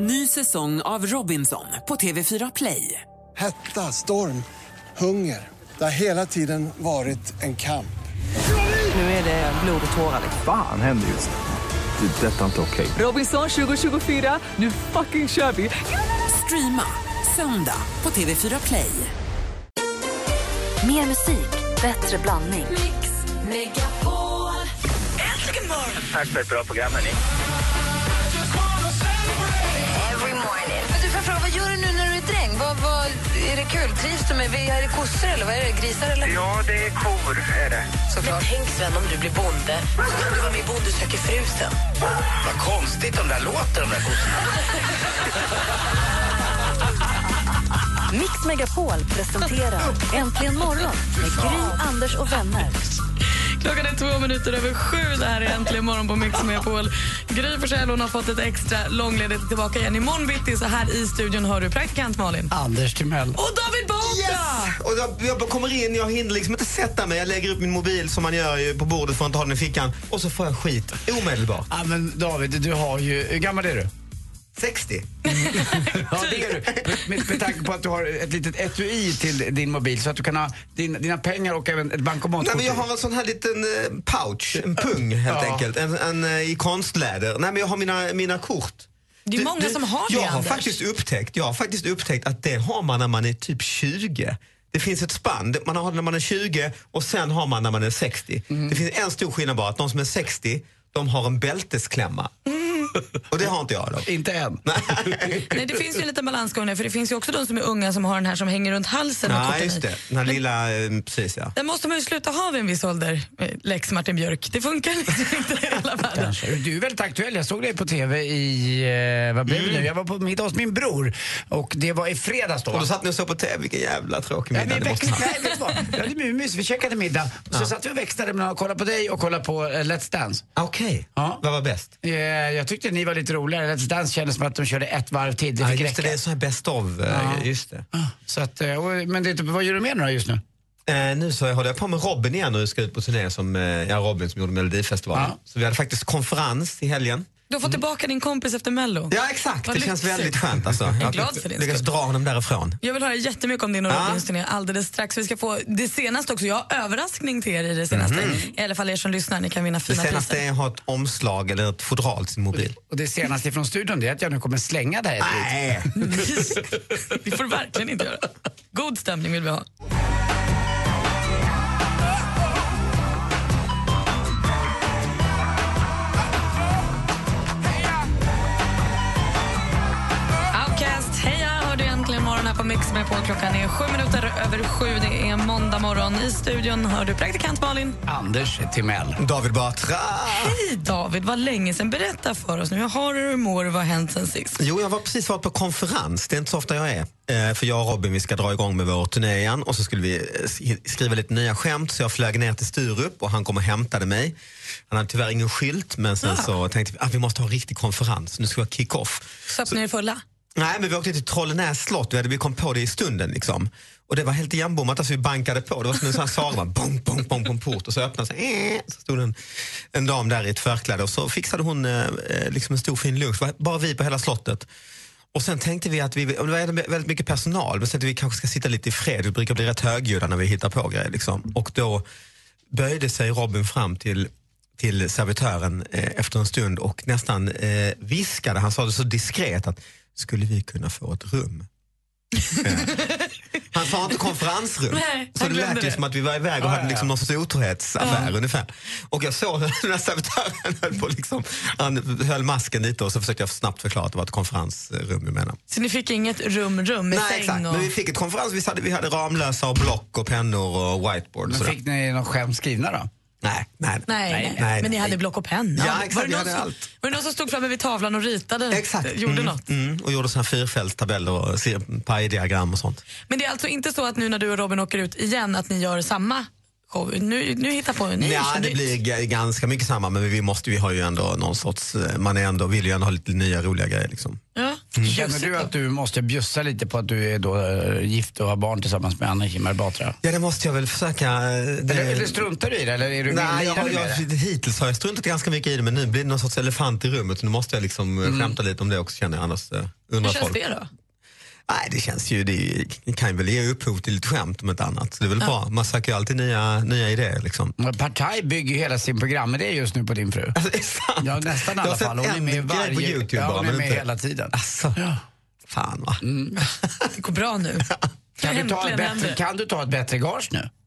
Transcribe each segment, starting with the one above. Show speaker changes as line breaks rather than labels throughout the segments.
Ny säsong av Robinson på TV4 Play.
Hetta, storm, hunger. Det har hela tiden varit en kamp.
Nu är det blod och tårar. liksom.
Fan händer just nu. Det. är Detta är inte okej.
Robinson 2024, nu fucking kör vi! Streama söndag på TV4 Play.
Mer musik, bättre blandning.
Tack för ett bra program, hörni.
Men du, får jag fråga, vad gör du nu när du är dräng? Vad, vad, är det kul? Trivs du med vi- är det kossor eller vad är det? Grisar eller?
Ja, det är kor, är det.
Såklart.
Tänk Sven om du blir bonde. Kan du vara med i Bonde söker fru sen?
Vad konstigt de där låter, de där kossorna.
Mix Megapol presenterar Äntligen morgon med Gry, Anders och vänner.
Klockan är två minuter över sju. Det här är Äntligen morgon på Mix Megapol. Gry Forssell hon har fått ett extra långledigt tillbaka igen imorgon bitti. Så här i studion har du praktikant Malin.
Anders Timell.
Och David Batra!
Yes! Och jag, jag bara kommer in, jag hinner liksom inte sätta mig. Jag lägger upp min mobil som man gör ju på bordet för att inte ha den i fickan. Och så får jag skit omedelbart.
Ja, men David, du har ju... Hur gammal är du?
60.
Ja, det är du. Med, med tanke på att du har ett litet etui till din mobil så att du kan ha din, dina pengar och även ett
Nej,
bankomatkort.
men jag har en sån här liten eh, pouch, en pung helt
Ja.
enkelt. En, en, eh, I konstläder. Nej, men jag har mina, mina kort.
Det är
Du-
många
du-
som har det,
jag har,
Anders.
faktiskt upptäckt, jag har faktiskt upptäckt att det har man när man är typ 20. Det finns ett spann. Man har det när man är 20 och sen har man när man är 60.
Mm.
Det finns en stor skillnad bara, att de som är 60, de har en bältesklämma.
Mm.
Och det har inte jag. Då.
Inte än.
Nej, det finns ju en liten balansgång där, för det finns ju också de som är unga som har den här som hänger runt halsen. med
Nej,
korten i.
just det. Den här lilla, eh, precis ja.
Den måste man ju sluta ha vid en viss ålder, eh, lex Martin Björk. Det funkar liksom inte i hela världen.
Kanske. Du är väldigt aktuell. Jag såg dig på TV i... Eh, vad blev det nu? Jag var på middag hos min bror och det var i fredags då.
Mm. Och då satt ni och såg på TV, vilken jävla tråkig
Nej,
middag
vi
det måste
växlade,
ha.
nej, vet du vad? Vi hade mummys, vi käkade middag. Och så satt vi och växlade mellan att kolla på dig och kolla på eh, Let's Dance.
Okej,
Ja.
vad var bäst?
Eh, jag tyckte ni var lite roligare. Let's Dance kändes som att de körde ett varv till. Det
Ja,
fick
just det,
räcka.
det är så här best of. eh,
Ja.
Just det.
Ah, Så att, eh, och, men det, är typ- vad gör du mer nu då just nu?
Eh, nu så håller jag på med Robin igen och ska ut på turné som eh, ja, Robin som gjorde Melodifestivalen.
Ja.
Så vi hade faktiskt konferens i helgen.
Du har fått tillbaka din kompis efter Mello.
Ja exakt,
Vad
det känns
lyxigt.
väldigt skönt alltså. Jag
är glad
lyck-
för din
lyckas
skull.
dra honom därifrån.
Jag vill höra jättemycket om din och Robins turné alldeles strax. Vi ska få det senaste också. Jag har överraskning till er i det senaste. I alla fall er som lyssnar, ni kan vinna
Det
fina
senaste
priser.
är att ha ett omslag eller ett fodral till sin mobil.
Och det senaste från studion det är att jag nu kommer slänga det här.
Nej!
Det får du verkligen inte göra. God stämning vill vi ha. Outcast, heja! Hör du äntligen morgon här på Mix med på Klockan är sju minuter över sju. Det är måndag morgon. I studion hör du praktikant Malin.
Anders Timell.
David Batra!
Hej David, vad länge sen. Berätta för oss nu. Hur har du det, hur mår du? Vad har hänt sen sist?
Jo, jag har precis varit på konferens. Det är inte så ofta jag är. Eh, För jag och Robin vi ska dra igång med vår turné igen och så skulle vi eh, sk- skriva lite nya skämt så jag flög ner till Sturup och han kom och hämtade mig. Han hade tyvärr ingen skylt men sen så tänkte vi att vi måste ha en riktig konferens. Nu ska vi ha kick-off.
Söp ni er fulla?
Nej, men vi åkte till Trollenäs slott. Vi, hade, vi kom på det i stunden. Liksom. Och Det var helt igenbommat. Alltså, vi bankade på. Det var som en sån här saga. Bong, bong, bong på en port och så öppnade sig. eh, Så stod en, en dam där i ett förkläde och så fixade hon eh, eh, liksom en stor fin lunch. Det var Bara vi på hela slottet. Och sen tänkte vi att vi, och det var väldigt mycket personal, men sen tänkte vi kanske ska sitta lite i fred. Vi brukar bli rätt högljudda när vi hittar på grejer. Liksom. Och då böjde sig Robin fram till, till servitören eh, efter en stund och nästan eh, viskade, han sa det så diskret att skulle vi kunna få ett rum? Eh, han sa inte konferensrum.
Nej,
så
han
det lät
glömde
ju
det.
som att vi var iväg och hade liksom någon sorts otrohetsaffär ungefär. Och jag såg hur den här servitören höll på liksom, han höll masken lite och så försökte jag snabbt förklara att det var ett konferensrum vi menar.
Så ni fick inget rum-rum med
Nej exakt,
säng? Och...
men vi fick ett konferens, vi hade, vi hade Ramlösa och block och pennor och whiteboard. Och
Men
sådär.
fick ni något skämt skrivna då?
nej, nej,
Nej, nej, men ni hade block och penna.
Ja, exakt,
var, det
vi
någon
hade
som,
allt.
var det någon som stod framme vid tavlan och ritade? Eh,
Exakt.
Gjorde
mm,
något.
Mm, och gjorde såna här fyrfältstabeller och se- pajdiagram och sånt.
Men det är alltså inte så att nu när du och Robin åker ut igen att ni gör samma show? Nu, nu hittar på ni
Ja,
kör
det
nytt.
blir g- ganska mycket samma men vi måste, vi har ju ändå någon sorts, eh, man är ändå, vill ju ändå ha lite nya roliga grejer liksom.
Ja.
Känner du att du måste bjussa lite på att du är då eh, gift och har barn tillsammans med Anna Kinberg Batra?
Ja, det måste jag väl försöka... eh, Det...
Eller, eller struntar du i det? Eller är du
Nej, jag, har-
villig med det?
jag, hittills har jag struntat ganska mycket i det men nu blir det någon sorts elefant i rummet. Nu måste jag liksom mm. skämta lite om det också känner jag, annars eh, undrar
Hur känns
folk.
det då?
Nej, det känns ju, det är ju- det kan ju väl ge upphov till ett skämt om ett annat. Så det är väl bra, man söker ju alltid nya, nya idéer liksom.
Mm. Partaj bygger ju hela sin programidé just nu på din fru.
Alltså, det är sant.
Ja, nästan i
Jag har
alla
sett
fall. Hon är
en
med i
grej
varje...
på Youtube
ja,
bara,
hon är
men
med
inte-
hela tiden.
Alltså,
Ja. Mm.
fan va.
Det går bra nu.
Kan du, ta ett
Äntligen
bättre,
händer.
kan du ta ett bättre gage nu?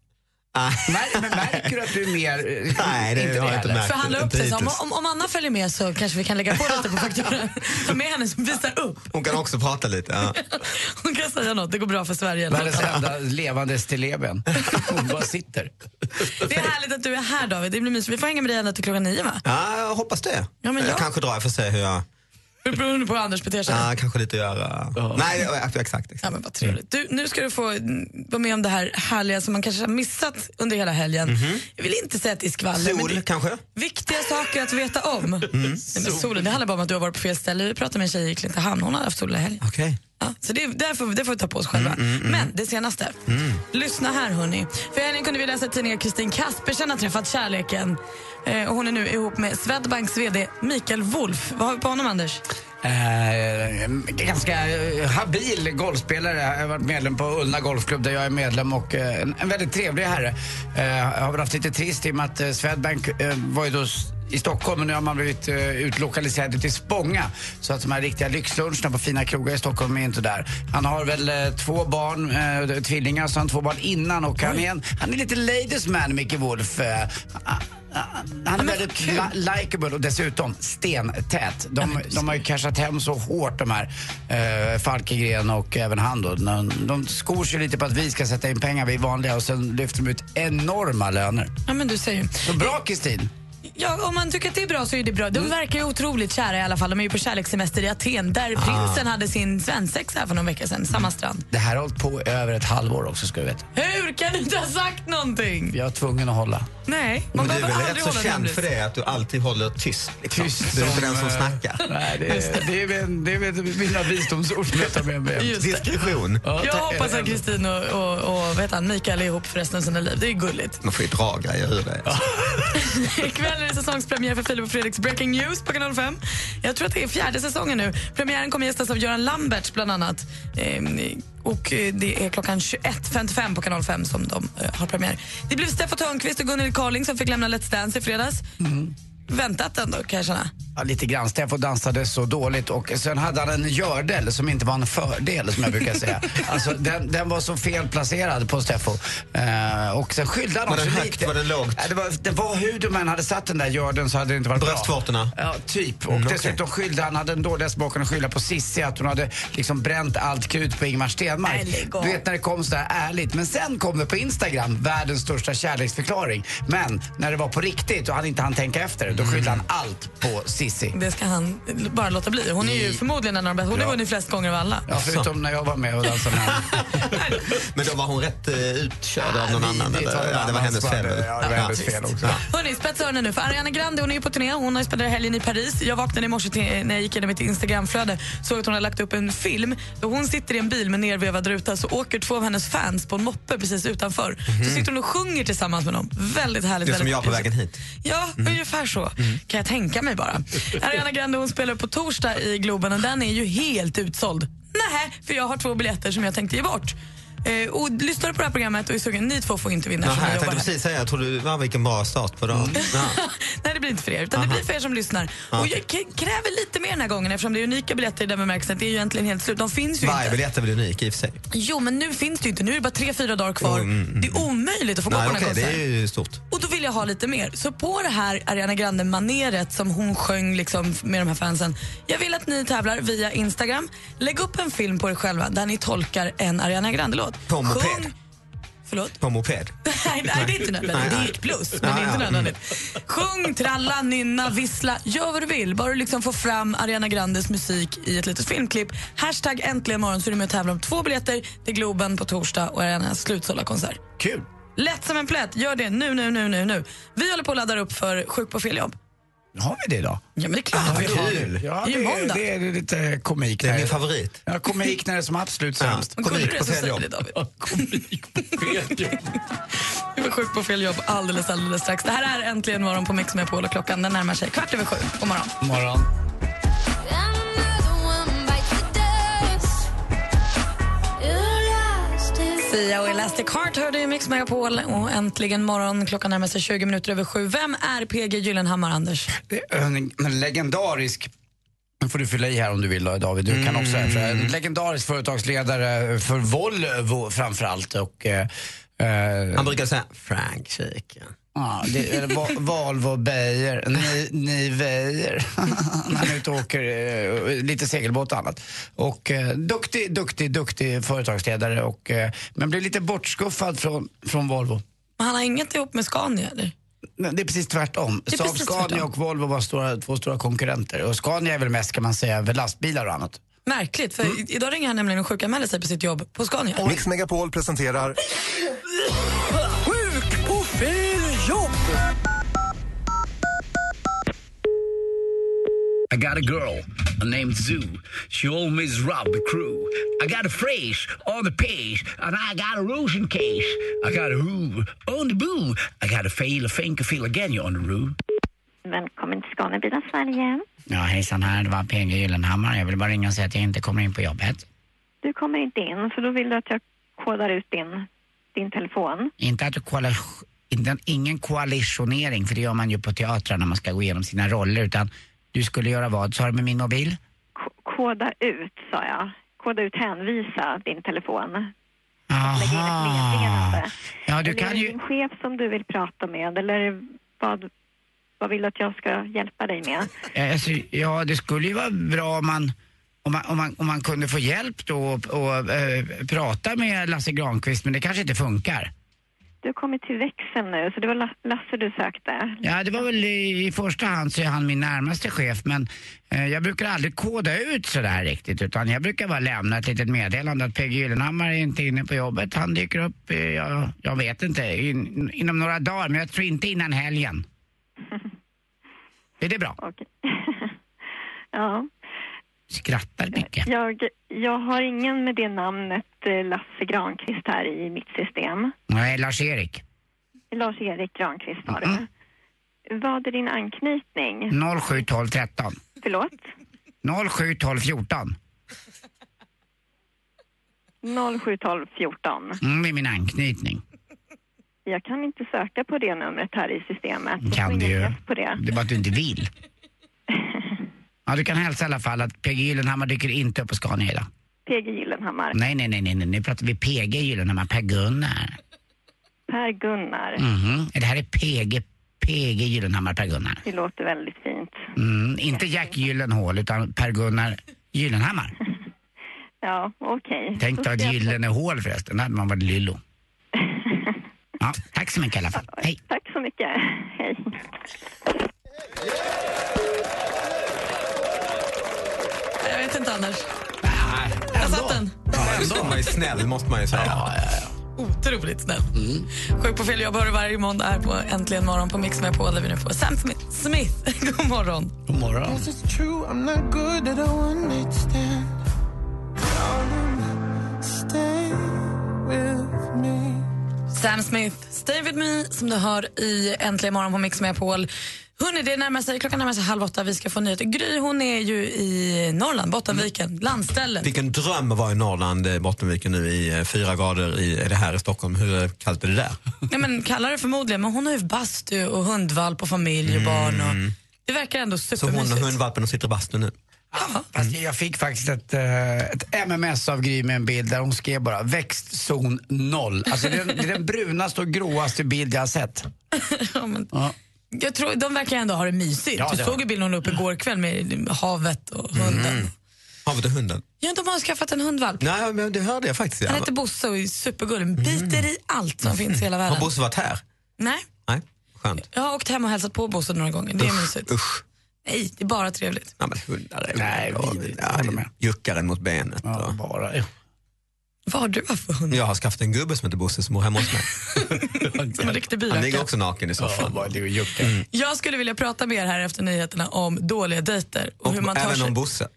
Nej.
Mär, men märker du att du är mer... eh,
Nej, det har jag inte
heller?
märkt.
Förhandla upp
Inte
det. så Om,
hittills.
om- om Anna följer med så kanske vi kan lägga på lite på fakturan. Ta med henne som visar upp.
Hon kan också prata lite. Ja.
Hon kan säga något. Det går bra för Sverige.
Världens enda levande stilleben. Hon bara sitter.
Det är härligt att du är här David. Det blir mysigt. Vi får hänga med dig ända till klockan nio va?
Ja, jag hoppas det.
Ja, men
jag...
jag-
kanske drar, jag får se hur jag...
Beroende på hur Anders beter sig.
Ja, kanske lite göra... Nej, det- exakt. Mm.
Ja,
exakt.
men vad trevligt. Du, nu ska du få mm, vara med om det här härliga som man kanske har missat under hela helgen. Jag vill inte säga att det är skvaller, men det
Sol
är
kanske?
viktiga saker att veta om. Nej, men solen, det handlar bara om att du har varit på fel ställe. Vi pratade med en tjej i Klintehamn, hon har haft sol hela helgen.
Okej.
Ja, så det, det, får, det får vi ta på oss själva. Men det senaste. Lyssna här hörni. För i helgen kunde vi läsa i tidningen att Kristin Kaspersen har träffat kärleken. Eh, och hon är nu ihop med Swedbanks VD Mikael Wolf. Vad har vi på honom Anders?
Eh, ganska eh, habil golfspelare. Jag har varit medlem på Ullna Golfklubb där jag är medlem och eh, en, en väldigt trevlig herre. Eh, har väl haft lite trist i och med att eh, Swedbank eh, var ju då s- i Stockholm men nu har man blivit eh, utlokaliserad till Spånga. Så att de här riktiga lyxluncherna på fina krogar i Stockholm är inte där. Han har väl eh, två barn, eh, tvillingar, så han har två barn innan och han är, en, han är lite ladies man, Micke Wolf. Eh, han är väldigt li- likeable och dessutom stentät. De, de har ju cashat hem så hårt de här eh, Falkegren och även han då. De, de skor sig lite på att vi ska sätta in pengar, vi vanliga, och sen lyfter de ut enorma löner.
Ja men du säger
Så bra Kristin!
Ja, om man tycker att det är bra så är det bra. De
Mm.
verkar ju otroligt kära i alla fall. De är ju på kärlekssemester i Aten där
Ah.
prinsen hade sin svensexa här för någon vecka sedan. Samma strand.
Det här har hållit på i över ett halvår också ska du veta.
Hur kan du inte ha sagt någonting?
Jag är tvungen att hålla.
Nej, man
Men du är
behöver
väl
aldrig
rätt så
hålla en
känd
hemlis.
för det, att du alltid håller tyst. Liksom.
Tyst
du är inte
som,
den som
eh,
snackar.
Nej, det, är- det, är, min- det är min- mina visdomsord som jag tar med mig. hem.
Just det.
Diskretion.
Jag
tack.
hoppas att Kristin och, och, och vad heter han, Mikael är ihop för resten av sina liv. Det är gulligt.
Man får ju dra grejer ur det.
Ikväll är det säsongspremiär för Filip och Fredriks Breaking News på Kanal 5. Jag tror att det är fjärde säsongen nu. Premiären kommer gästas av Göran Lamberts bland annat. Ehm, Och eh, det är klockan 21.55 på Kanal 5 som de eh, har premiär. Det blev Steffo Törnqvist och Gunnel Carling som fick lämna Let's Dance i fredags.
Mm.
Väntat ändå kan jag känna.
Ja, lite grann. Steffo dansade så dåligt och sen hade han en gördel som inte var en fördel som jag brukar säga. Alltså, den, den var så felplacerad på Steffo. Eh, och sen skyllde han
Var
också
den högt?
lite.
Var den lågt?
Ja, det, var, det var hur du man hade satt den där gördeln så hade det inte varit
Bröstvårtorna?
bra. Ja, typ. Och
Mm, okej.
dessutom skyllde han, hade den dåliga smaken att skylla på Sissi att hon hade liksom bränt allt krut på Ingmar Stenmark.
Nej, lägg av.
Du vet när det kom sådär ärligt. Men sen kom det på Instagram, världens största kärleksförklaring. Men när det var på riktigt och han inte hann tänka efter, då skyllde
Mm.
han allt på Sissi.
Det ska han bara låta bli. Hon är ju förmodligen en av de bästa. Hon har
Mm. Ja.
vunnit flest gånger av alla.
Ja, förutom när jag var med och dansade med honom.
Men då var hon rätt eh, utkörd av någon
Nej,
annan?
det
Eller?
tar någon
Ja, det var
annan
hennes
som
fel.
hade-
väl?
ja, det var hennes fel också.
Hörni, spetsa öronen nu. För Ariana Grande hon är ju på turné. Hon har ju spenderat helgen i Paris. Jag vaknade i morse till, eh, när jag gick igenom mitt Instagramflöde såg att hon har lagt upp en film då hon sitter i en bil med nervevad ruta så åker två av hennes fans på en moppe precis utanför. Så sitter hon och sjunger tillsammans med dem. Väldigt härligt.
Mhm. Det är som
väldigt
jag på
mysigt.
vägen Mhm. hit.
Ja, ungefär så kan jag tänka mig bara. Ariana Grande hon spelar på torsdag i Globen och den är ju helt utsåld. Nej, för jag har två biljetter som jag tänkte ge bort. Eh, och lyssnar du på det här programmet och är sugen, ni två får inte vinna.
Jaha,
eftersom
jag
jobbar
tänkte
här.
precis säga, jag trodde, va, vilken bra start på dagen.
Mm.
Ja.
Nej, det blir inte för er, utan det
Aha.
blir för er som lyssnar. Och jag k- kräver lite mer den här gången eftersom det är unika biljetter i den bemärkelsen att det är ju egentligen helt slut. De finns ju
Varje
inte.
biljett är väl unik i och för sig?
Jo, men nu finns det ju inte. Nu är det bara tre, fyra dagar kvar. Det är omöjligt att få gå
Nej,
på den
okej,
här
det
konserten.
är ju stort.
Och då vill jag ha lite mer. Så på det här Ariana Grande-maneret som hon sjöng liksom med de här fansen. Jag vill att ni tävlar via Instagram. Lägg upp en film på er själva där ni tolkar en Ariana Grande-låt.
På moped.
Förlåt?
På moped.
Nej, nej, det är inte nödvändigt. Det är ett plus, men det är inte nödvändigt. Sjung, tralla, nynna, vissla. Gör vad du vill, bara du liksom får fram Ariana Grandes musik i ett litet filmklipp. Hashtag äntligen morgon så är du med och tävlar om två biljetter till Globen på torsdag och Arianas slutsålda konsert.
Kul!
Lätt som en plätt, gör det nu, nu, nu, nu, nu. Vi håller på att ladda upp för Sjuk på fel jobb.
Har vi det idag?
Ja, men det är klart
Ah,
att vi har det.
kul.
Ja,
Det är ju måndag.
Det, är lite komik.
Det är
när
min favorit.
Ja, komik när det är som absolut sämst.
Kom hit
du
på
så
fel
säger
jobb.
det, David. Du var sjuk på fel jobb alldeles, alldeles strax. Det här är Äntligen morgon på Mix Megapol och klockan den närmar sig kvart över sju. God morgon.
God morgon.
Sia och Elastic Heart hörde i Mix Megapol och äntligen morgon. Klockan närmar sig 20 minuter över sju. Vem är PG Gyllenhammar, Anders?
Det är en, en legendarisk nu får du fylla i här om du vill då, David. Du kan också.
Mm.
För en legendarisk företagsledare för Volvo framförallt. Och, eh, eh,
Han brukar säga Frankrike.
Ja, det är Va- Valvo Beijer, ni, ni Beijer. När han är ute och åker eh, lite segelbåt och annat. Och eh, duktig, duktig, duktig företagsledare. Och, eh, men blev lite bortskuffad från, från Volvo.
Men Han har inget ihop med Scania, eller?
Nej, Det är precis tvärtom.
är
Saab
precis
Scania
tvärtom.
och Volvo var stora, två stora konkurrenter. Och Scania är väl mest, kan man säga, för lastbilar och annat.
Märkligt, för i- idag ringer han nämligen och sjukanmäler sig på sitt jobb på Scania.
Mix Megapol presenterar
Sjuk på fel jobb!
I got a girl named Zoo. She always robbed the crew. I got a phrase on the page, and I got a rosin case. I got a who on the boo. I got a fail, a fink, a feel again you on the roo.
Välkommen till Skånebilar Sverige.
Ja, hejsan här, det var PG Gyllenhammar. Jag vill bara ringa och säga att jag inte kommer in på jobbet.
Du kommer inte in, för då vill du att jag kodar ut din, din telefon.
Inte att du koala- inte, ingen koalitionering, för det gör man ju på teatrar när man ska gå igenom sina roller, utan du skulle göra vad, sa du med min mobil?
K- koda ut, sa jag. Koda ut, hänvisa din telefon. Lägg in ett
Aha.
meddelande.
Ja,
eller
du
är
kan
alltså. det
ju...
din chef som du vill prata med, eller vad, vad vill du att jag ska hjälpa dig med?
Eh, Alltså, ja, det skulle ju vara bra om man, om man, om man, om man kunde få hjälp då och, och eh, prata med Lasse Granqvist, men det kanske inte funkar.
Du har kommit till växeln nu, så det var La- Lasse du sökte.
Ja, det var väl i, i första hand så är han min närmaste chef, men eh, jag brukar aldrig koda ut sådär riktigt, utan jag brukar bara lämna ett litet meddelande att PG Gyllenhammar är inte inne på jobbet. Han dyker upp, eh, jag, jag vet inte, in, inom några dagar, men jag tror inte innan helgen. Är det bra?
Okej. ja,
Skrattar mycket.
jag, jag har ingen med det namnet eh, Lasse Granqvist här i mitt system.
Nej, Lars-Erik.
Lars-Erik Granqvist har du. Vad är din anknytning?
07 12 13.
Förlåt?
07 12 14.
071214.
Mm, det är min anknytning.
Jag kan inte söka på det numret här i systemet. Jag
Kan
får
du
ingen
ju.
träff På det.
Det är bara att du inte vill. Ja, du kan hälsa i alla fall att PG Gyllenhammar dyker inte upp på Scania idag.
PG Gyllenhammar.
Nej, nej, nej, nej, nej. nu pratar vi PG Gyllenhammar, Per-Gunnar.
Per-Gunnar.
Mhm. Det här är PG, PG Gyllenhammar, Per-Gunnar.
Det låter väldigt fint.
Mm. Inte Jack Gyllenhaal, utan Per-Gunnar Gyllenhammar.
Ja, okej.
Tänk
Då
dig
ska jag-
att Gyllene Hål förresten, då hade man varit Lyllo. Ja, tack så mycket i alla fall. Hej.
Tack så mycket. Hej.
Jag vet inte, Anders. Jag satt den.
Ändå man är snäll måste man ju säga.
Otroligt snäll. Sjuk på fel jobb hör du varje måndag här på Äntligen morgon på Mix Megapol där vi nu får Sam Smith. Smith. God morgon.
God morgon.
Sam Smith, Stay with me, som du hör i Äntligen morgon på Mix Megapol. Hörrni, det närmar sig, klockan närmar sig halv åtta. Vi ska få nyheter. Gry hon är ju i Norrland, Bottenviken,
Mm.
landstället.
Vilken dröm att vara i Norrland, eh, Bottenviken nu i eh, fyra grader. I, är det här i Stockholm? Hur eh, kallt är det där?
Ja, men kallar det förmodligen, men hon har ju bastu och hundvalp och familj och barn. Och, det verkar ändå
Mm. Så hon och
supermysigt.
hundvalpen och sitter i bastun nu.
Fast jag fick faktiskt ett, eh, ett MMS av Gry med en bild där hon skrev bara växtzon 0. Alltså det är, den, det är den brunaste och gråaste bild jag har sett.
Ja, men,
Ja.
jag tror, de verkar ändå ha det mysigt.
Ja, det
du
har
såg ju bilden hon la upp igår kväll med havet och hunden.
Mm. Havet och hunden.
Ja, de har skaffat en hundvalp.
Nej, men det hörde jag faktiskt.
Han
Anna.
heter Bosse och är supergullig. Biter i allt som finns i hela
Mm. Har
världen.
Bosse varit här?
Nej,
Nej, skönt.
jag har åkt hem och hälsat på Bosse några gånger. Det är mysigt.
Usch.
Nej, det är bara trevligt.
Ja, men hundar är
Nej,
och-
vidrigt.
ja,
Håller med.
Juckaren mot benet.
Ja,
och-
bara.
Vad har du haft för hund?
Jag har skaffat en gubbe som heter Bosse som bor hemma hos mig.
Som en riktig
Han
byracka.
ligger också naken i soffan.
Mm.
Jag skulle vilja prata med er här efter nyheterna om dåliga dejter och, hur man
Och
tar
även
sig,
om Bosse.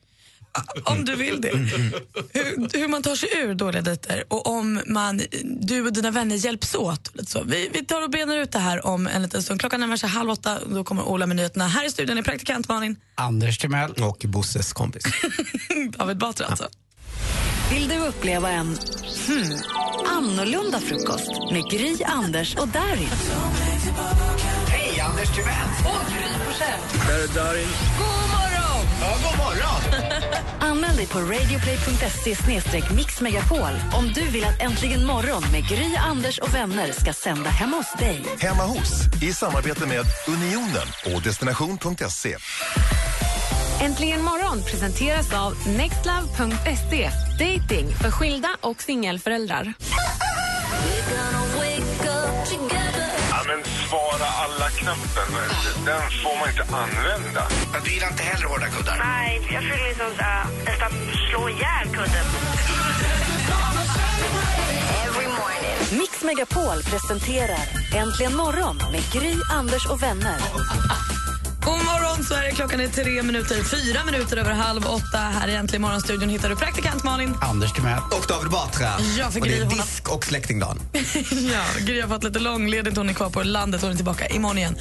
om du vill det. Hur, hur man tar sig ur dåliga dejter och om man, du och dina vänner hjälps åt. och lite Så. Vi, vi tar och benar ut det här om en liten stund. Klockan närmar sig halv åtta och då kommer Ola med nyheterna. Här i studion är praktikant Malin.
Anders Timell.
Och Bosses kompis.
David Batra alltså.
Vill du uppleva en hmm, annorlunda frukost med Gry, Anders och Darin?
Hej, Anders Timell!
God morgon!
Ja, god morgon!
Anmäl dig på radioplay.se mixmegapol om du vill att Äntligen morgon med Gry, Anders och vänner ska sända hemma hos dig.
Hemma hos i samarbete med Unionen och Destination.se.
Äntligen morgon presenteras av nextlove.se. Dating för skilda och singelföräldrar.
Ja, men svara alla-knappen, den får man inte använda.
Du gillar inte heller hårda kuddar?
Nej, jag skulle liksom äh, nästan slå ihjäl kudden.
Mix Megapol presenterar Äntligen morgon med Gry, Anders och vänner.
God morgon Sverige, klockan är tre minuter, fyra minuter över halv åtta. Här i Äntligen morgonstudion hittar du praktikant Malin.
Anders Timell.
Och David Batra.
Ja, för
och det
Gry,
är
hon har-
disk och släktingdagen.
ja, Gry har fått lite långledigt. Hon är kvar på landet. Hon är tillbaka imorgon igen.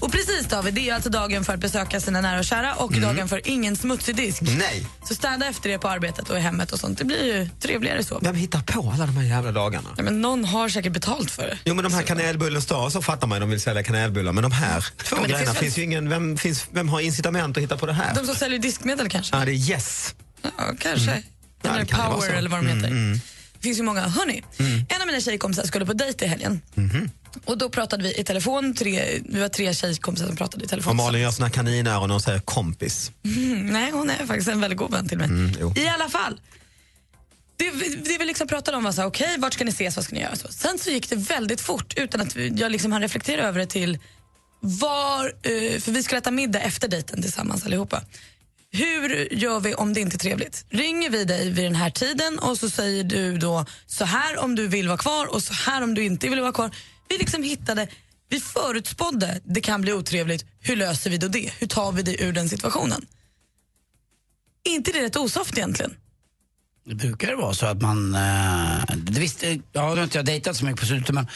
Och precis David, det är alltså dagen för att besöka sina nära och kära och
Mm.
dagen för ingen smutsig disk.
Nej.
Så städa efter det på arbetet och i hemmet och sånt. Det blir ju trevligare så.
Vem hittar på alla de här jävla dagarna?
Ja, men någon har säkert betalt för det.
Jo men de här kanelbullens dag, så fattar man ju, de vill sälja kanelbullar. Men de här två
men det
grejerna
finns
finns,
väl-
ju ingen, vem, finns, vem har incitament att hitta på det här?
De som säljer diskmedel kanske?
Ja, det är yes.
Ja, kanske. Den där
Mm. det kan ju vara
Power
så.
eller vad de
Mm,
heter.
mm.
Det finns ju många. Hörni, en av mina tjejkompisar skulle på dejt i helgen.
Mhm.
Och då pratade vi i telefon. Tre, vi var tre tjejkompisar som pratade i
Och
telefon.
Malin gör såna kaninöron och hon säger kompis.
Mhm, nej, hon är faktiskt en väldigt god vän till mig.
Mm, jo.
I alla fall. Det, vi- det vi liksom pratade om var så här, okej, vart ska ni ses, vad ska ni göra? Så. Sen så gick det väldigt fort utan att vi- jag liksom hann reflektera över det till var, eh, för vi skulle äta middag efter dejten tillsammans allihopa. Hur gör vi om det inte är trevligt? Ringer vi dig vid den här tiden och så säger du då så här om du vill vara kvar och så här om du inte vill vara kvar. Vi liksom hittade, vi förutspådde det kan bli otrevligt. Hur löser vi då det? Hur tar vi det ur den situationen? Är inte det rätt osoft egentligen?
Det brukar det vara så att man... eh, det visst, eh, ja, nu har inte jag dejtat så mycket på slutet men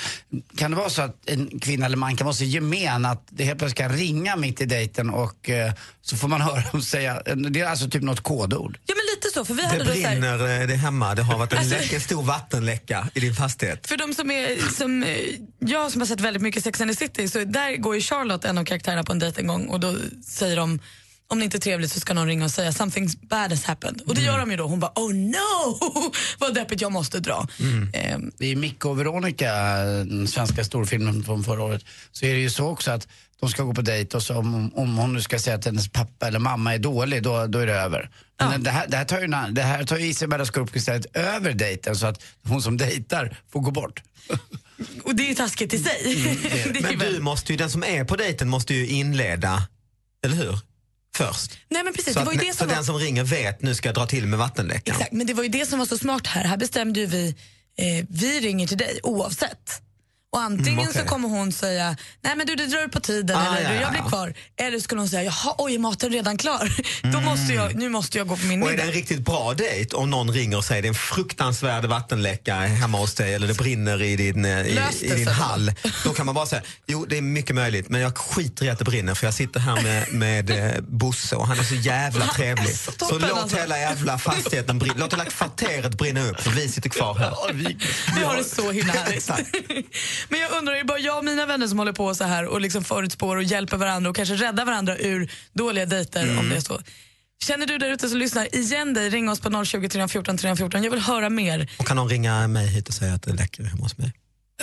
kan det vara så att en kvinna eller man kan vara så gemen att det helt plötsligt kan ringa mitt i dejten och eh, så får man höra dem säga... Det är alltså typ något kodord.
Ja men lite så, för vi
Det
hade då så här,
brinner eh, det hemma, det har varit en,
Alltså-
läck, en stor vattenläcka i din fastighet.
för de som är, som, eh, jag som har sett väldigt mycket Sex and the City, så där går ju Charlotte, en av karaktärerna, på en dejt en gång och då säger de om det inte är trevligt så ska någon ringa och säga something bad has happened. Och det
Mm.
gör de ju då. Hon bara oh no, vad deppigt, jag måste dra.
Mm.
Ehm,
I Micke och Veronica, den svenska storfilmen från förra året, så är det ju så också att de ska gå på dejt och så om, om hon nu ska säga att hennes pappa eller mamma är dålig, då, då är det över. Men det, här, det här tar ju, na- det här tar ju Isabella Scorupco istället över dejten så att hon som dejtar får gå bort.
Och det är ju taskigt i sig. det är ju
Mm. Men du måste ju, den som är på dejten måste ju inleda, eller hur? Först.
Nej men precis,
så
det var ju
att,
det
så
som var...
den som ringer vet, nu ska jag dra till med vattenläckan.
Exakt, men det var ju det som var så smart här. Här bestämde ju vi, eh, vi ringer till dig oavsett. Och antingen
Mm, okej.
så kommer hon säga, nej men du det drar ut på tiden
Ah,
eller
ja,
du, jag
ja,
blir
ja.
kvar. Eller så skulle hon säga, jaha oj är maten redan klar? Då måste jag, nu måste jag gå på min
Och är det
middag.
en riktigt bra dejt om någon ringer och säger det är en fruktansvärd vattenläcka hemma hos dig eller det brinner i din, eh, i,
Lös det,
i din
så.
hall. Då kan man bara säga, jo det är mycket möjligt men jag skiter i att det brinner för jag sitter här med, med eh, Bosse och han är så jävla
Han är
trevlig.
så
Så,
toppen,
låt
alltså."
hela jävla fastigheten brinna, låt hela kvarteret brinna upp för vi sitter kvar här.
Vi har det så himla härligt. men jag undrar, är det bara jag och mina vänner som håller på så här och liksom förutspår och hjälper varandra och kanske räddar varandra ur dåliga dejter om
Mm.
det är så? Känner du där ute som lyssnar igen dig, ring oss på 020 314 314. Jag vill höra mer.
Och kan någon ringa mig hit och säga att det läcker hemma hos mig?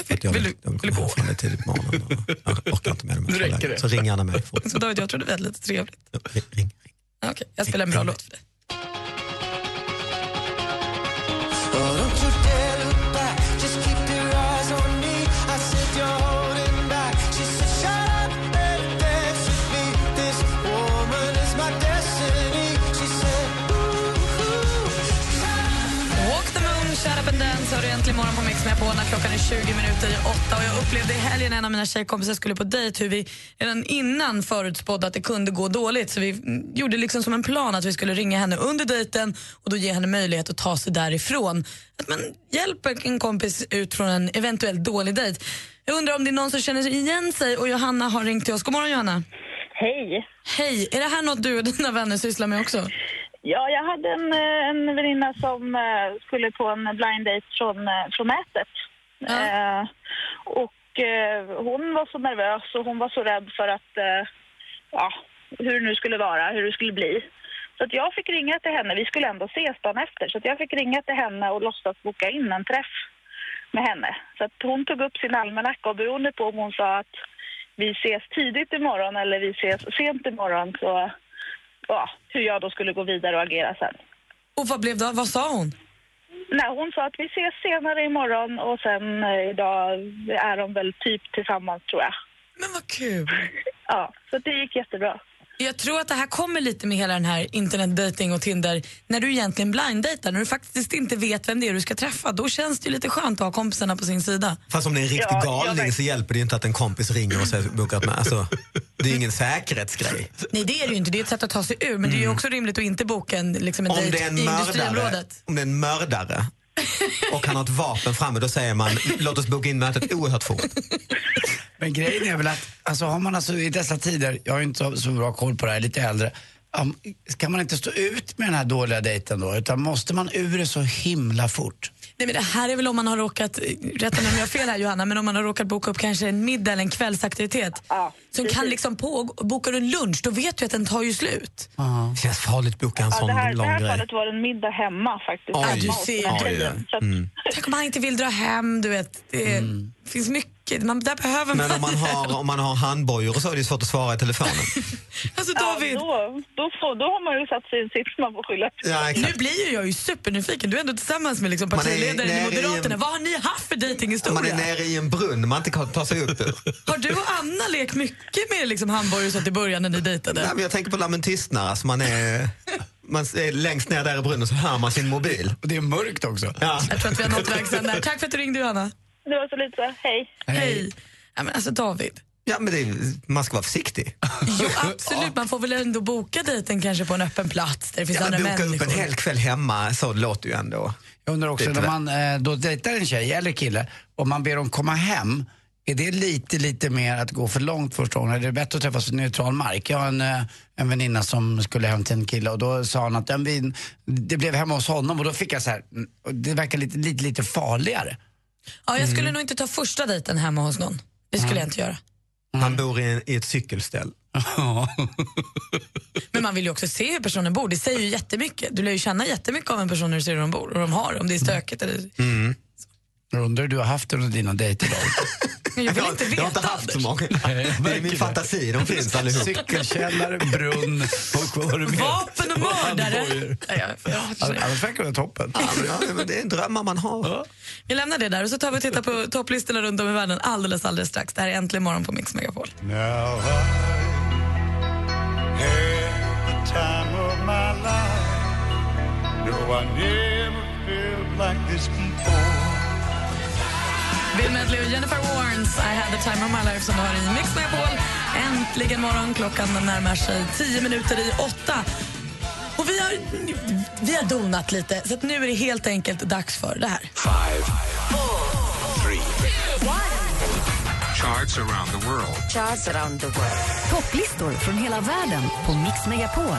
För att jag vill, jag vill komma hem tidigt på morgonen och jag orkar inte med de här
Nu räcker
två lägren.
det.
Så ring gärna mig fort.
Så David, jag trodde vi hade lite trevligt.
Ring, ring.
Okej, jag spelar en bra låt för dig. Walk the moon, shut up and dance. så har du äntligen morgon på Mix med på när klockan är 20 minuter i åtta. Och jag upplevde i helgen en av mina tjejkompisar skulle på dejt hur vi redan innan förutspådde att det kunde gå dåligt. Så vi mm, gjorde liksom som en plan att vi skulle ringa henne under dejten och då ge henne möjlighet att ta sig därifrån. Att man hjälper en kompis ut från en eventuellt dålig dejt. Jag undrar om det är någon som känner igen sig och Johanna har ringt till oss. God morgon Johanna.
Hej.
Hej. Är det här något du och dina vänner sysslar med också?
Ja, jag hade en, eh, en väninna som eh, skulle på en blind date från, eh, från nätet. Eh, och eh, hon var så nervös och hon var så rädd för att, eh, ja, hur det nu skulle vara, hur det skulle bli. Så att jag fick ringa till henne, vi skulle ändå ses dagen efter, så att jag fick ringa till henne och låtsas boka in en träff med henne. Så att hon tog upp sin almanacka och beroende på om hon sa att vi ses tidigt imorgon eller vi ses sent imorgon så ja, hur jag då skulle gå vidare och agera sen.
Och vad blev det? Vad sa hon?
Nej, hon sa att vi ses senare imorgon och sen eh, idag är de väl typ tillsammans tror jag.
Men vad kul!
Ja, så det gick jättebra.
Jag tror att det här kommer lite med hela den här internetdating och Tinder. När du egentligen blinddejtar, när du faktiskt inte vet vem det är du ska träffa, då känns det ju lite skönt att ha kompisarna på sin sida.
Fast om det är en riktig
Ja, jag
galning
vet.
så hjälper det ju inte att en kompis ringer och säger bokat med. Alltså, det är ingen säkerhetsgrej.
Nej, det är det ju inte. Det är ett sätt att ta sig ur, men det är ju
Mm.
också rimligt att inte boka en, liksom en
Om det
dejt
är en
i
mördare,
industriområdet.
om det är en mördare och han har ett vapen framme, då säger man låt oss boka in mötet oerhört fort.
Men grejen är väl att, alltså har man alltså i dessa tider, jag har ju inte så, så bra koll på det här, lite äldre, om, kan man inte stå ut med den här dåliga dejten då? Utan måste man ur det så himla fort?
Nej, men det här är väl om man har råkat, eh, rätta mig om jag har fel här Johanna, men om man har råkat boka upp kanske en middag eller en kvällsaktivitet som kan liksom pågå. Bokar du en lunch, då vet du att den tar ju slut.
Det känns farligt att boka en
Ja,
sån
det här, det
lång
här
grej.
fallet var det en middag hemma faktiskt.
Oj,
hemma
du
hos den
ser.
här
Oj,
tjejen.
ja.
Så att-
Mm.
Tänk om han inte vill dra hem, du vet. Det finns mycket, man, där behöver man...
Men om man har, om man har handbojor och så är det ju svårt att svara i telefonen.
Alltså
David! Ja, då, då, får, då har man ju satt sig i en sits man får skylla på.
Ja,
nu blir ju jag ju supernyfiken. Du är ändå tillsammans med liksom
Man är
partiledaren i
nere i en-
Moderaterna. Vad har ni haft för
Man är
dejtinghistoria?
nere i en brunn man inte kan ta sig upp ur.
Har du och Anna lekt mycket med liksom hamburgersåt i början när ni dejtade?
Nej, men jag tänker på Lammen tystnar. Alltså man, är, man är längst ner där i brunnen så hör man sin mobil.
Och det är mörkt också.
Ja.
Jag tror att vi har nått vägs ände. här. Tack för att du ringde, Johanna.
Det var så lite, hej.
Hej. Ja, men alltså David.
Ja, men det, är- man ska vara försiktig.
Jo, absolut. Man får väl ändå boka dejten kanske på en öppen plats där det finns
Ja,
andra
men boka
människor.
upp en hel kväll hemma, så låter ju ändå.
Jag undrar också, när man eh, då dejtar en tjej eller kille och man ber dem komma hem, är det lite, lite mer att gå för långt första gången? Är det bättre att träffas på neutral mark? Jag har en, eh, en väninna som skulle hem till en kille och då sa han att "Ja, vi, det blev hemma hos honom och då fick jag så här, mm, och det verkar lite, lite, lite farligare.
Ja, jag skulle
Mm.
nog inte ta första dejten hemma hos någon. Det skulle jag inte göra. Mm.
Han bor i, en, i ett cykelställ.
Men man vill ju också se hur personen bor. Det säger ju jättemycket. Du lär ju känna jättemycket av en person när du ser hur de bor och de har, om det är stökigt eller...
Mm. Jag undrar hur du har haft under dina dejter då?
Jag vill inte
Jag har
veta.
inte haft så många. Det är min fantasi, de finns allihop.
Cykelkällare, brunn och vad har du mer?
Vapen och mördare. Ja, jag- jag-
Annars verkar det toppen.
det är drömmar man har.
Vi lämnar det där och så tar vi och tittar på topplistorna runt om i världen alldeles, alldeles strax. Det här är Äntligen morgon på Mix Megapol.
Now I had the time of my life. No, I never felt like this before.
Bill Medley och Jennifer Warnes, I had the time of my life som du hör i Mix Megapol. Äntligen morgon, klockan närmar sig 10 minuter i åtta. Och vi har, vi har donat lite, så att nu är det helt enkelt dags för det här.
Five, three. Charts around the world.
Charts around the world. Topplistor från hela världen på Mix Megapol.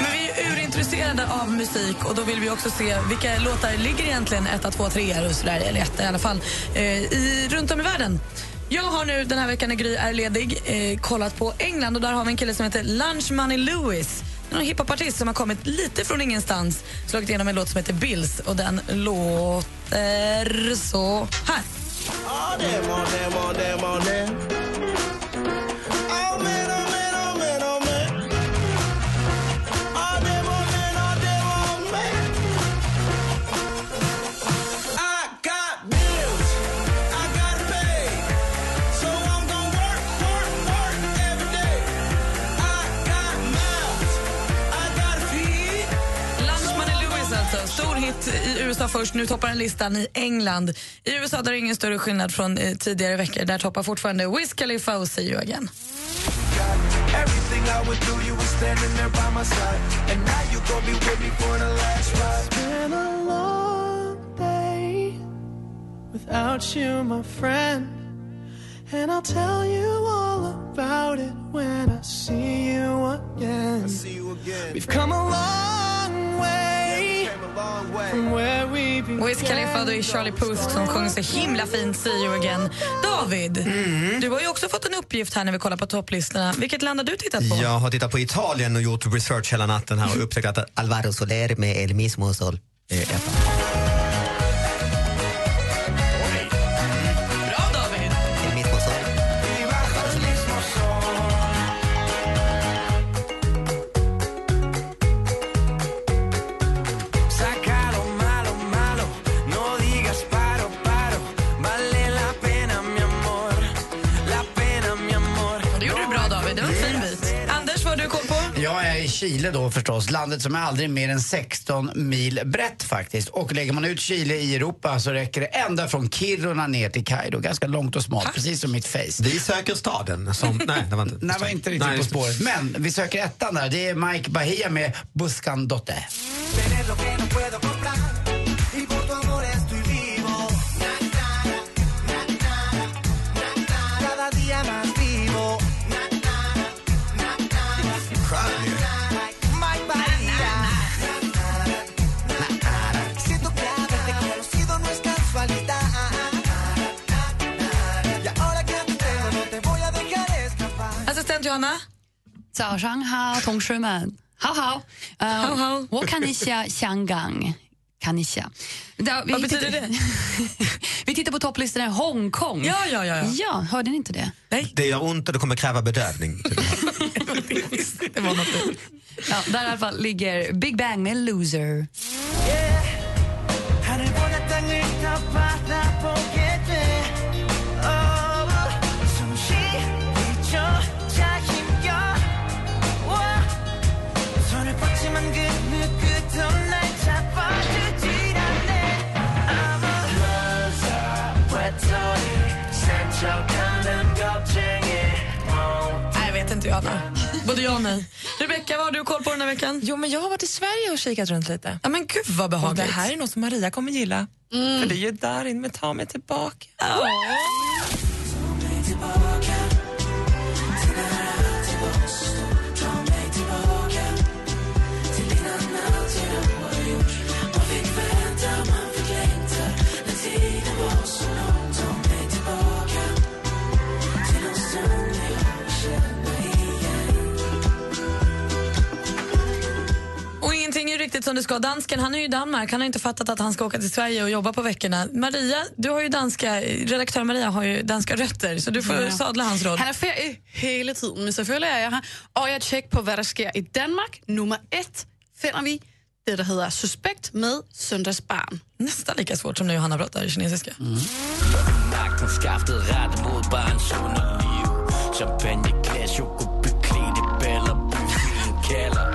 Men vi är urintresserade av musik och då vill vi också se vilka låtar ligger egentligen etta, två, trea och sådär, eller etta i alla fall, eh, i, runt om i världen. Jag har nu den här veckan när Gry är ledig eh, kollat på England och där har vi en kille som heter Lunch Money Lewis. En hiphopartist som har kommit lite från ingenstans, slagit igenom en låt som heter Bills och den låter så här.
All day, all day, all day, all day. Oh, man, oh, man, oh, man, oh, man. All day, all day, all day, all man. I got bills. I gotta pay. So I'm gonna work, work, work every day. I got mouths. I gotta feed.
Lunch Money Lewis alltså, alltså. Stor hit i USA först, nu toppar den listan i England. I USA där är det ingen större skillnad från eh, tidigare veckor. Där toppar fortfarande Wiz Khalifa och See You Again.
Everything I would do, you were standing there by my side. And now you gon' be with me for the last ride. It's been a long day without you, my friend. And I'll tell you all about it when I see you again. We've come a long way, from where we began.
Wiz Khalifa, då är Charlie Puth som sjunger så himla fint See You Again. David, du har ju också fått en uppgift här när vi kollar på topplistorna. Vilket land har du tittat på?
Jag har tittat på Italien och gjort research hela natten här och upptäckt att Alvaro Soler med El Mismo Sol eh, är etta.
Bra David!
Sácalo malo, malo, no digas paro, paro. Vale la pena, mi amor. La pena, mi amor.
Det gjorde du bra David, det var en fin bit. Anders, vad har du koll på?
Jag är i Chile då förstås, landet som är aldrig mer än 16 mil brett faktiskt. Och lägger man ut Chile i Europa så räcker det ända från Kiruna ner till Kairo. Ganska långt och smalt, precis som mitt face.
Vi söker staden som... Nej, det var inte...
Nej, var inte riktigt
Nej,
på
just det.
spåret. Men vi söker ettan där. Det är Mike Bahia med Buscandotte.
Tener lo que no puedo comprar. Y por tu amor estoy vivo. Na, na, na, na, na, na. Cada día más vivo. Na, na, na, na, na. Mike Bahía. Siento que haberte conocido no es casualidad. Y ahora que te tengo no te voy a dejar escapar.
Assistent Johanna?
早上好，同学们，好好，呃，
好好
我看一下香港，看一下。Vad
betyder det?
vi tittar på topplistan här, Hongkong.
Ja, ja, ja, ja.
Ja, hörde ni inte det?
Det gör ont och det kommer kräva bedövning.
Ja, där i alla fall ligger Big Bang med Loser.
하늘 보다 땅을 더 바라보게 돼 oh, 숨쉬기조차 힘겨워 손을 뻗지만 그 누구도 날 잡아주질 않네 I'm a loser 외톨이 센척하는 겁쟁이 Oh.
Nej, jag vet inte Johanna. Både jag och nej. Rebecka, vad har du koll på den här veckan?
Jo, men jag har varit i Sverige och kikat runt lite.
Ja, men gud vad
Och
behagligt.
det
Mm.
här är något som Maria kommer gilla. För det är ju Darin med Ta mig tillbaka.
Och ingenting är ju riktigt som det ska. Dansken, han är ju i Danmark. Han har ju inte fattat att han ska åka till Sverige och jobba på veckorna. Maria, du har ju danska, redaktör Maria har ju danska rötter, så du får
Mm.
Ja.
sadla hans råd.
Han er ferie hele tiden, men selvfølgelig er jeg her. Og jeg tjekker på, hvad der sker i Danmark. Nummer et finder vi det, der hedder Suspekt med Søndagsbarn.
Nästan lika svårt som när Johanna pratar kinesiska.
Mm.
Magtenskaftet rettet mod barns underliv Champagneglas, chokobeklædte baller Buffeten kalder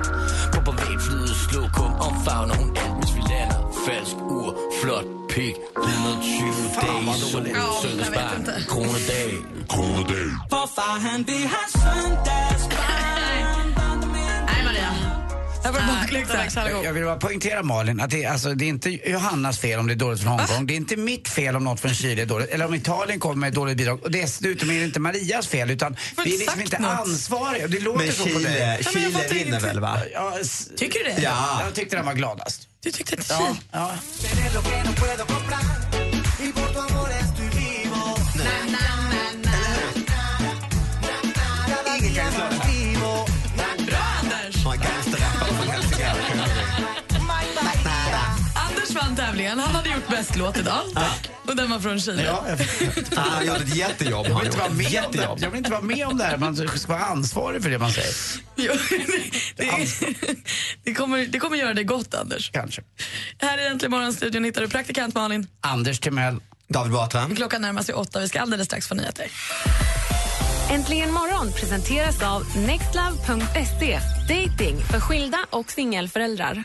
På privatflyet slå kum Omfavner hun alt, mens vi lander Falsk ur, flot pik 120 dage som søndagsbarn Kronedag Kronedag
Hvorfor han vil have søndagsbarn Nej, Maria.
Jag var
Jag vill bara poängtera Malin att det, är- alltså, det är inte Johannas fel om det är dåligt från Hongkong. Det är inte mitt fel om något från Chile är dåligt. Eller om Italien kommer med ett dåligt bidrag. Och dessutom är det inte Marias fel utan vi är liksom inte ansvariga. Det låter
Men
så på dig.
Chile, Chile vinner väl, va?
Tycker
du det? Ja.
Jag tyckte den var gladast.
Du tyckte att
ja. ja.
Tener lo que no puedo comprar y por tu amor estoy vivo. Na, na, na, na, na, na, na, Cada día más vivo. Na, Bra, Anders!
Anders vann tävlingen. Han hade gjort bäst låt idag. Och den var från Chile.
Han har gjort ett jättejobb. Han
Jag
har
vill, inte vara
gjort ett
med om det.
jättejobb.
jag vill inte vara med om det här. Man ska vara ansvarig för det man säger.
Jo, det, det, kommer, det kommer göra dig gott, Anders.
Kanske.
Här i Äntligen morgonstudion hittar du praktikant Malin.
Anders Timell.
David Batra.
Klockan närmar sig åtta. Vi ska alldeles strax få nyheter.
Äntligen morgon presenteras av nextlove.se. Dating för skilda och singelföräldrar.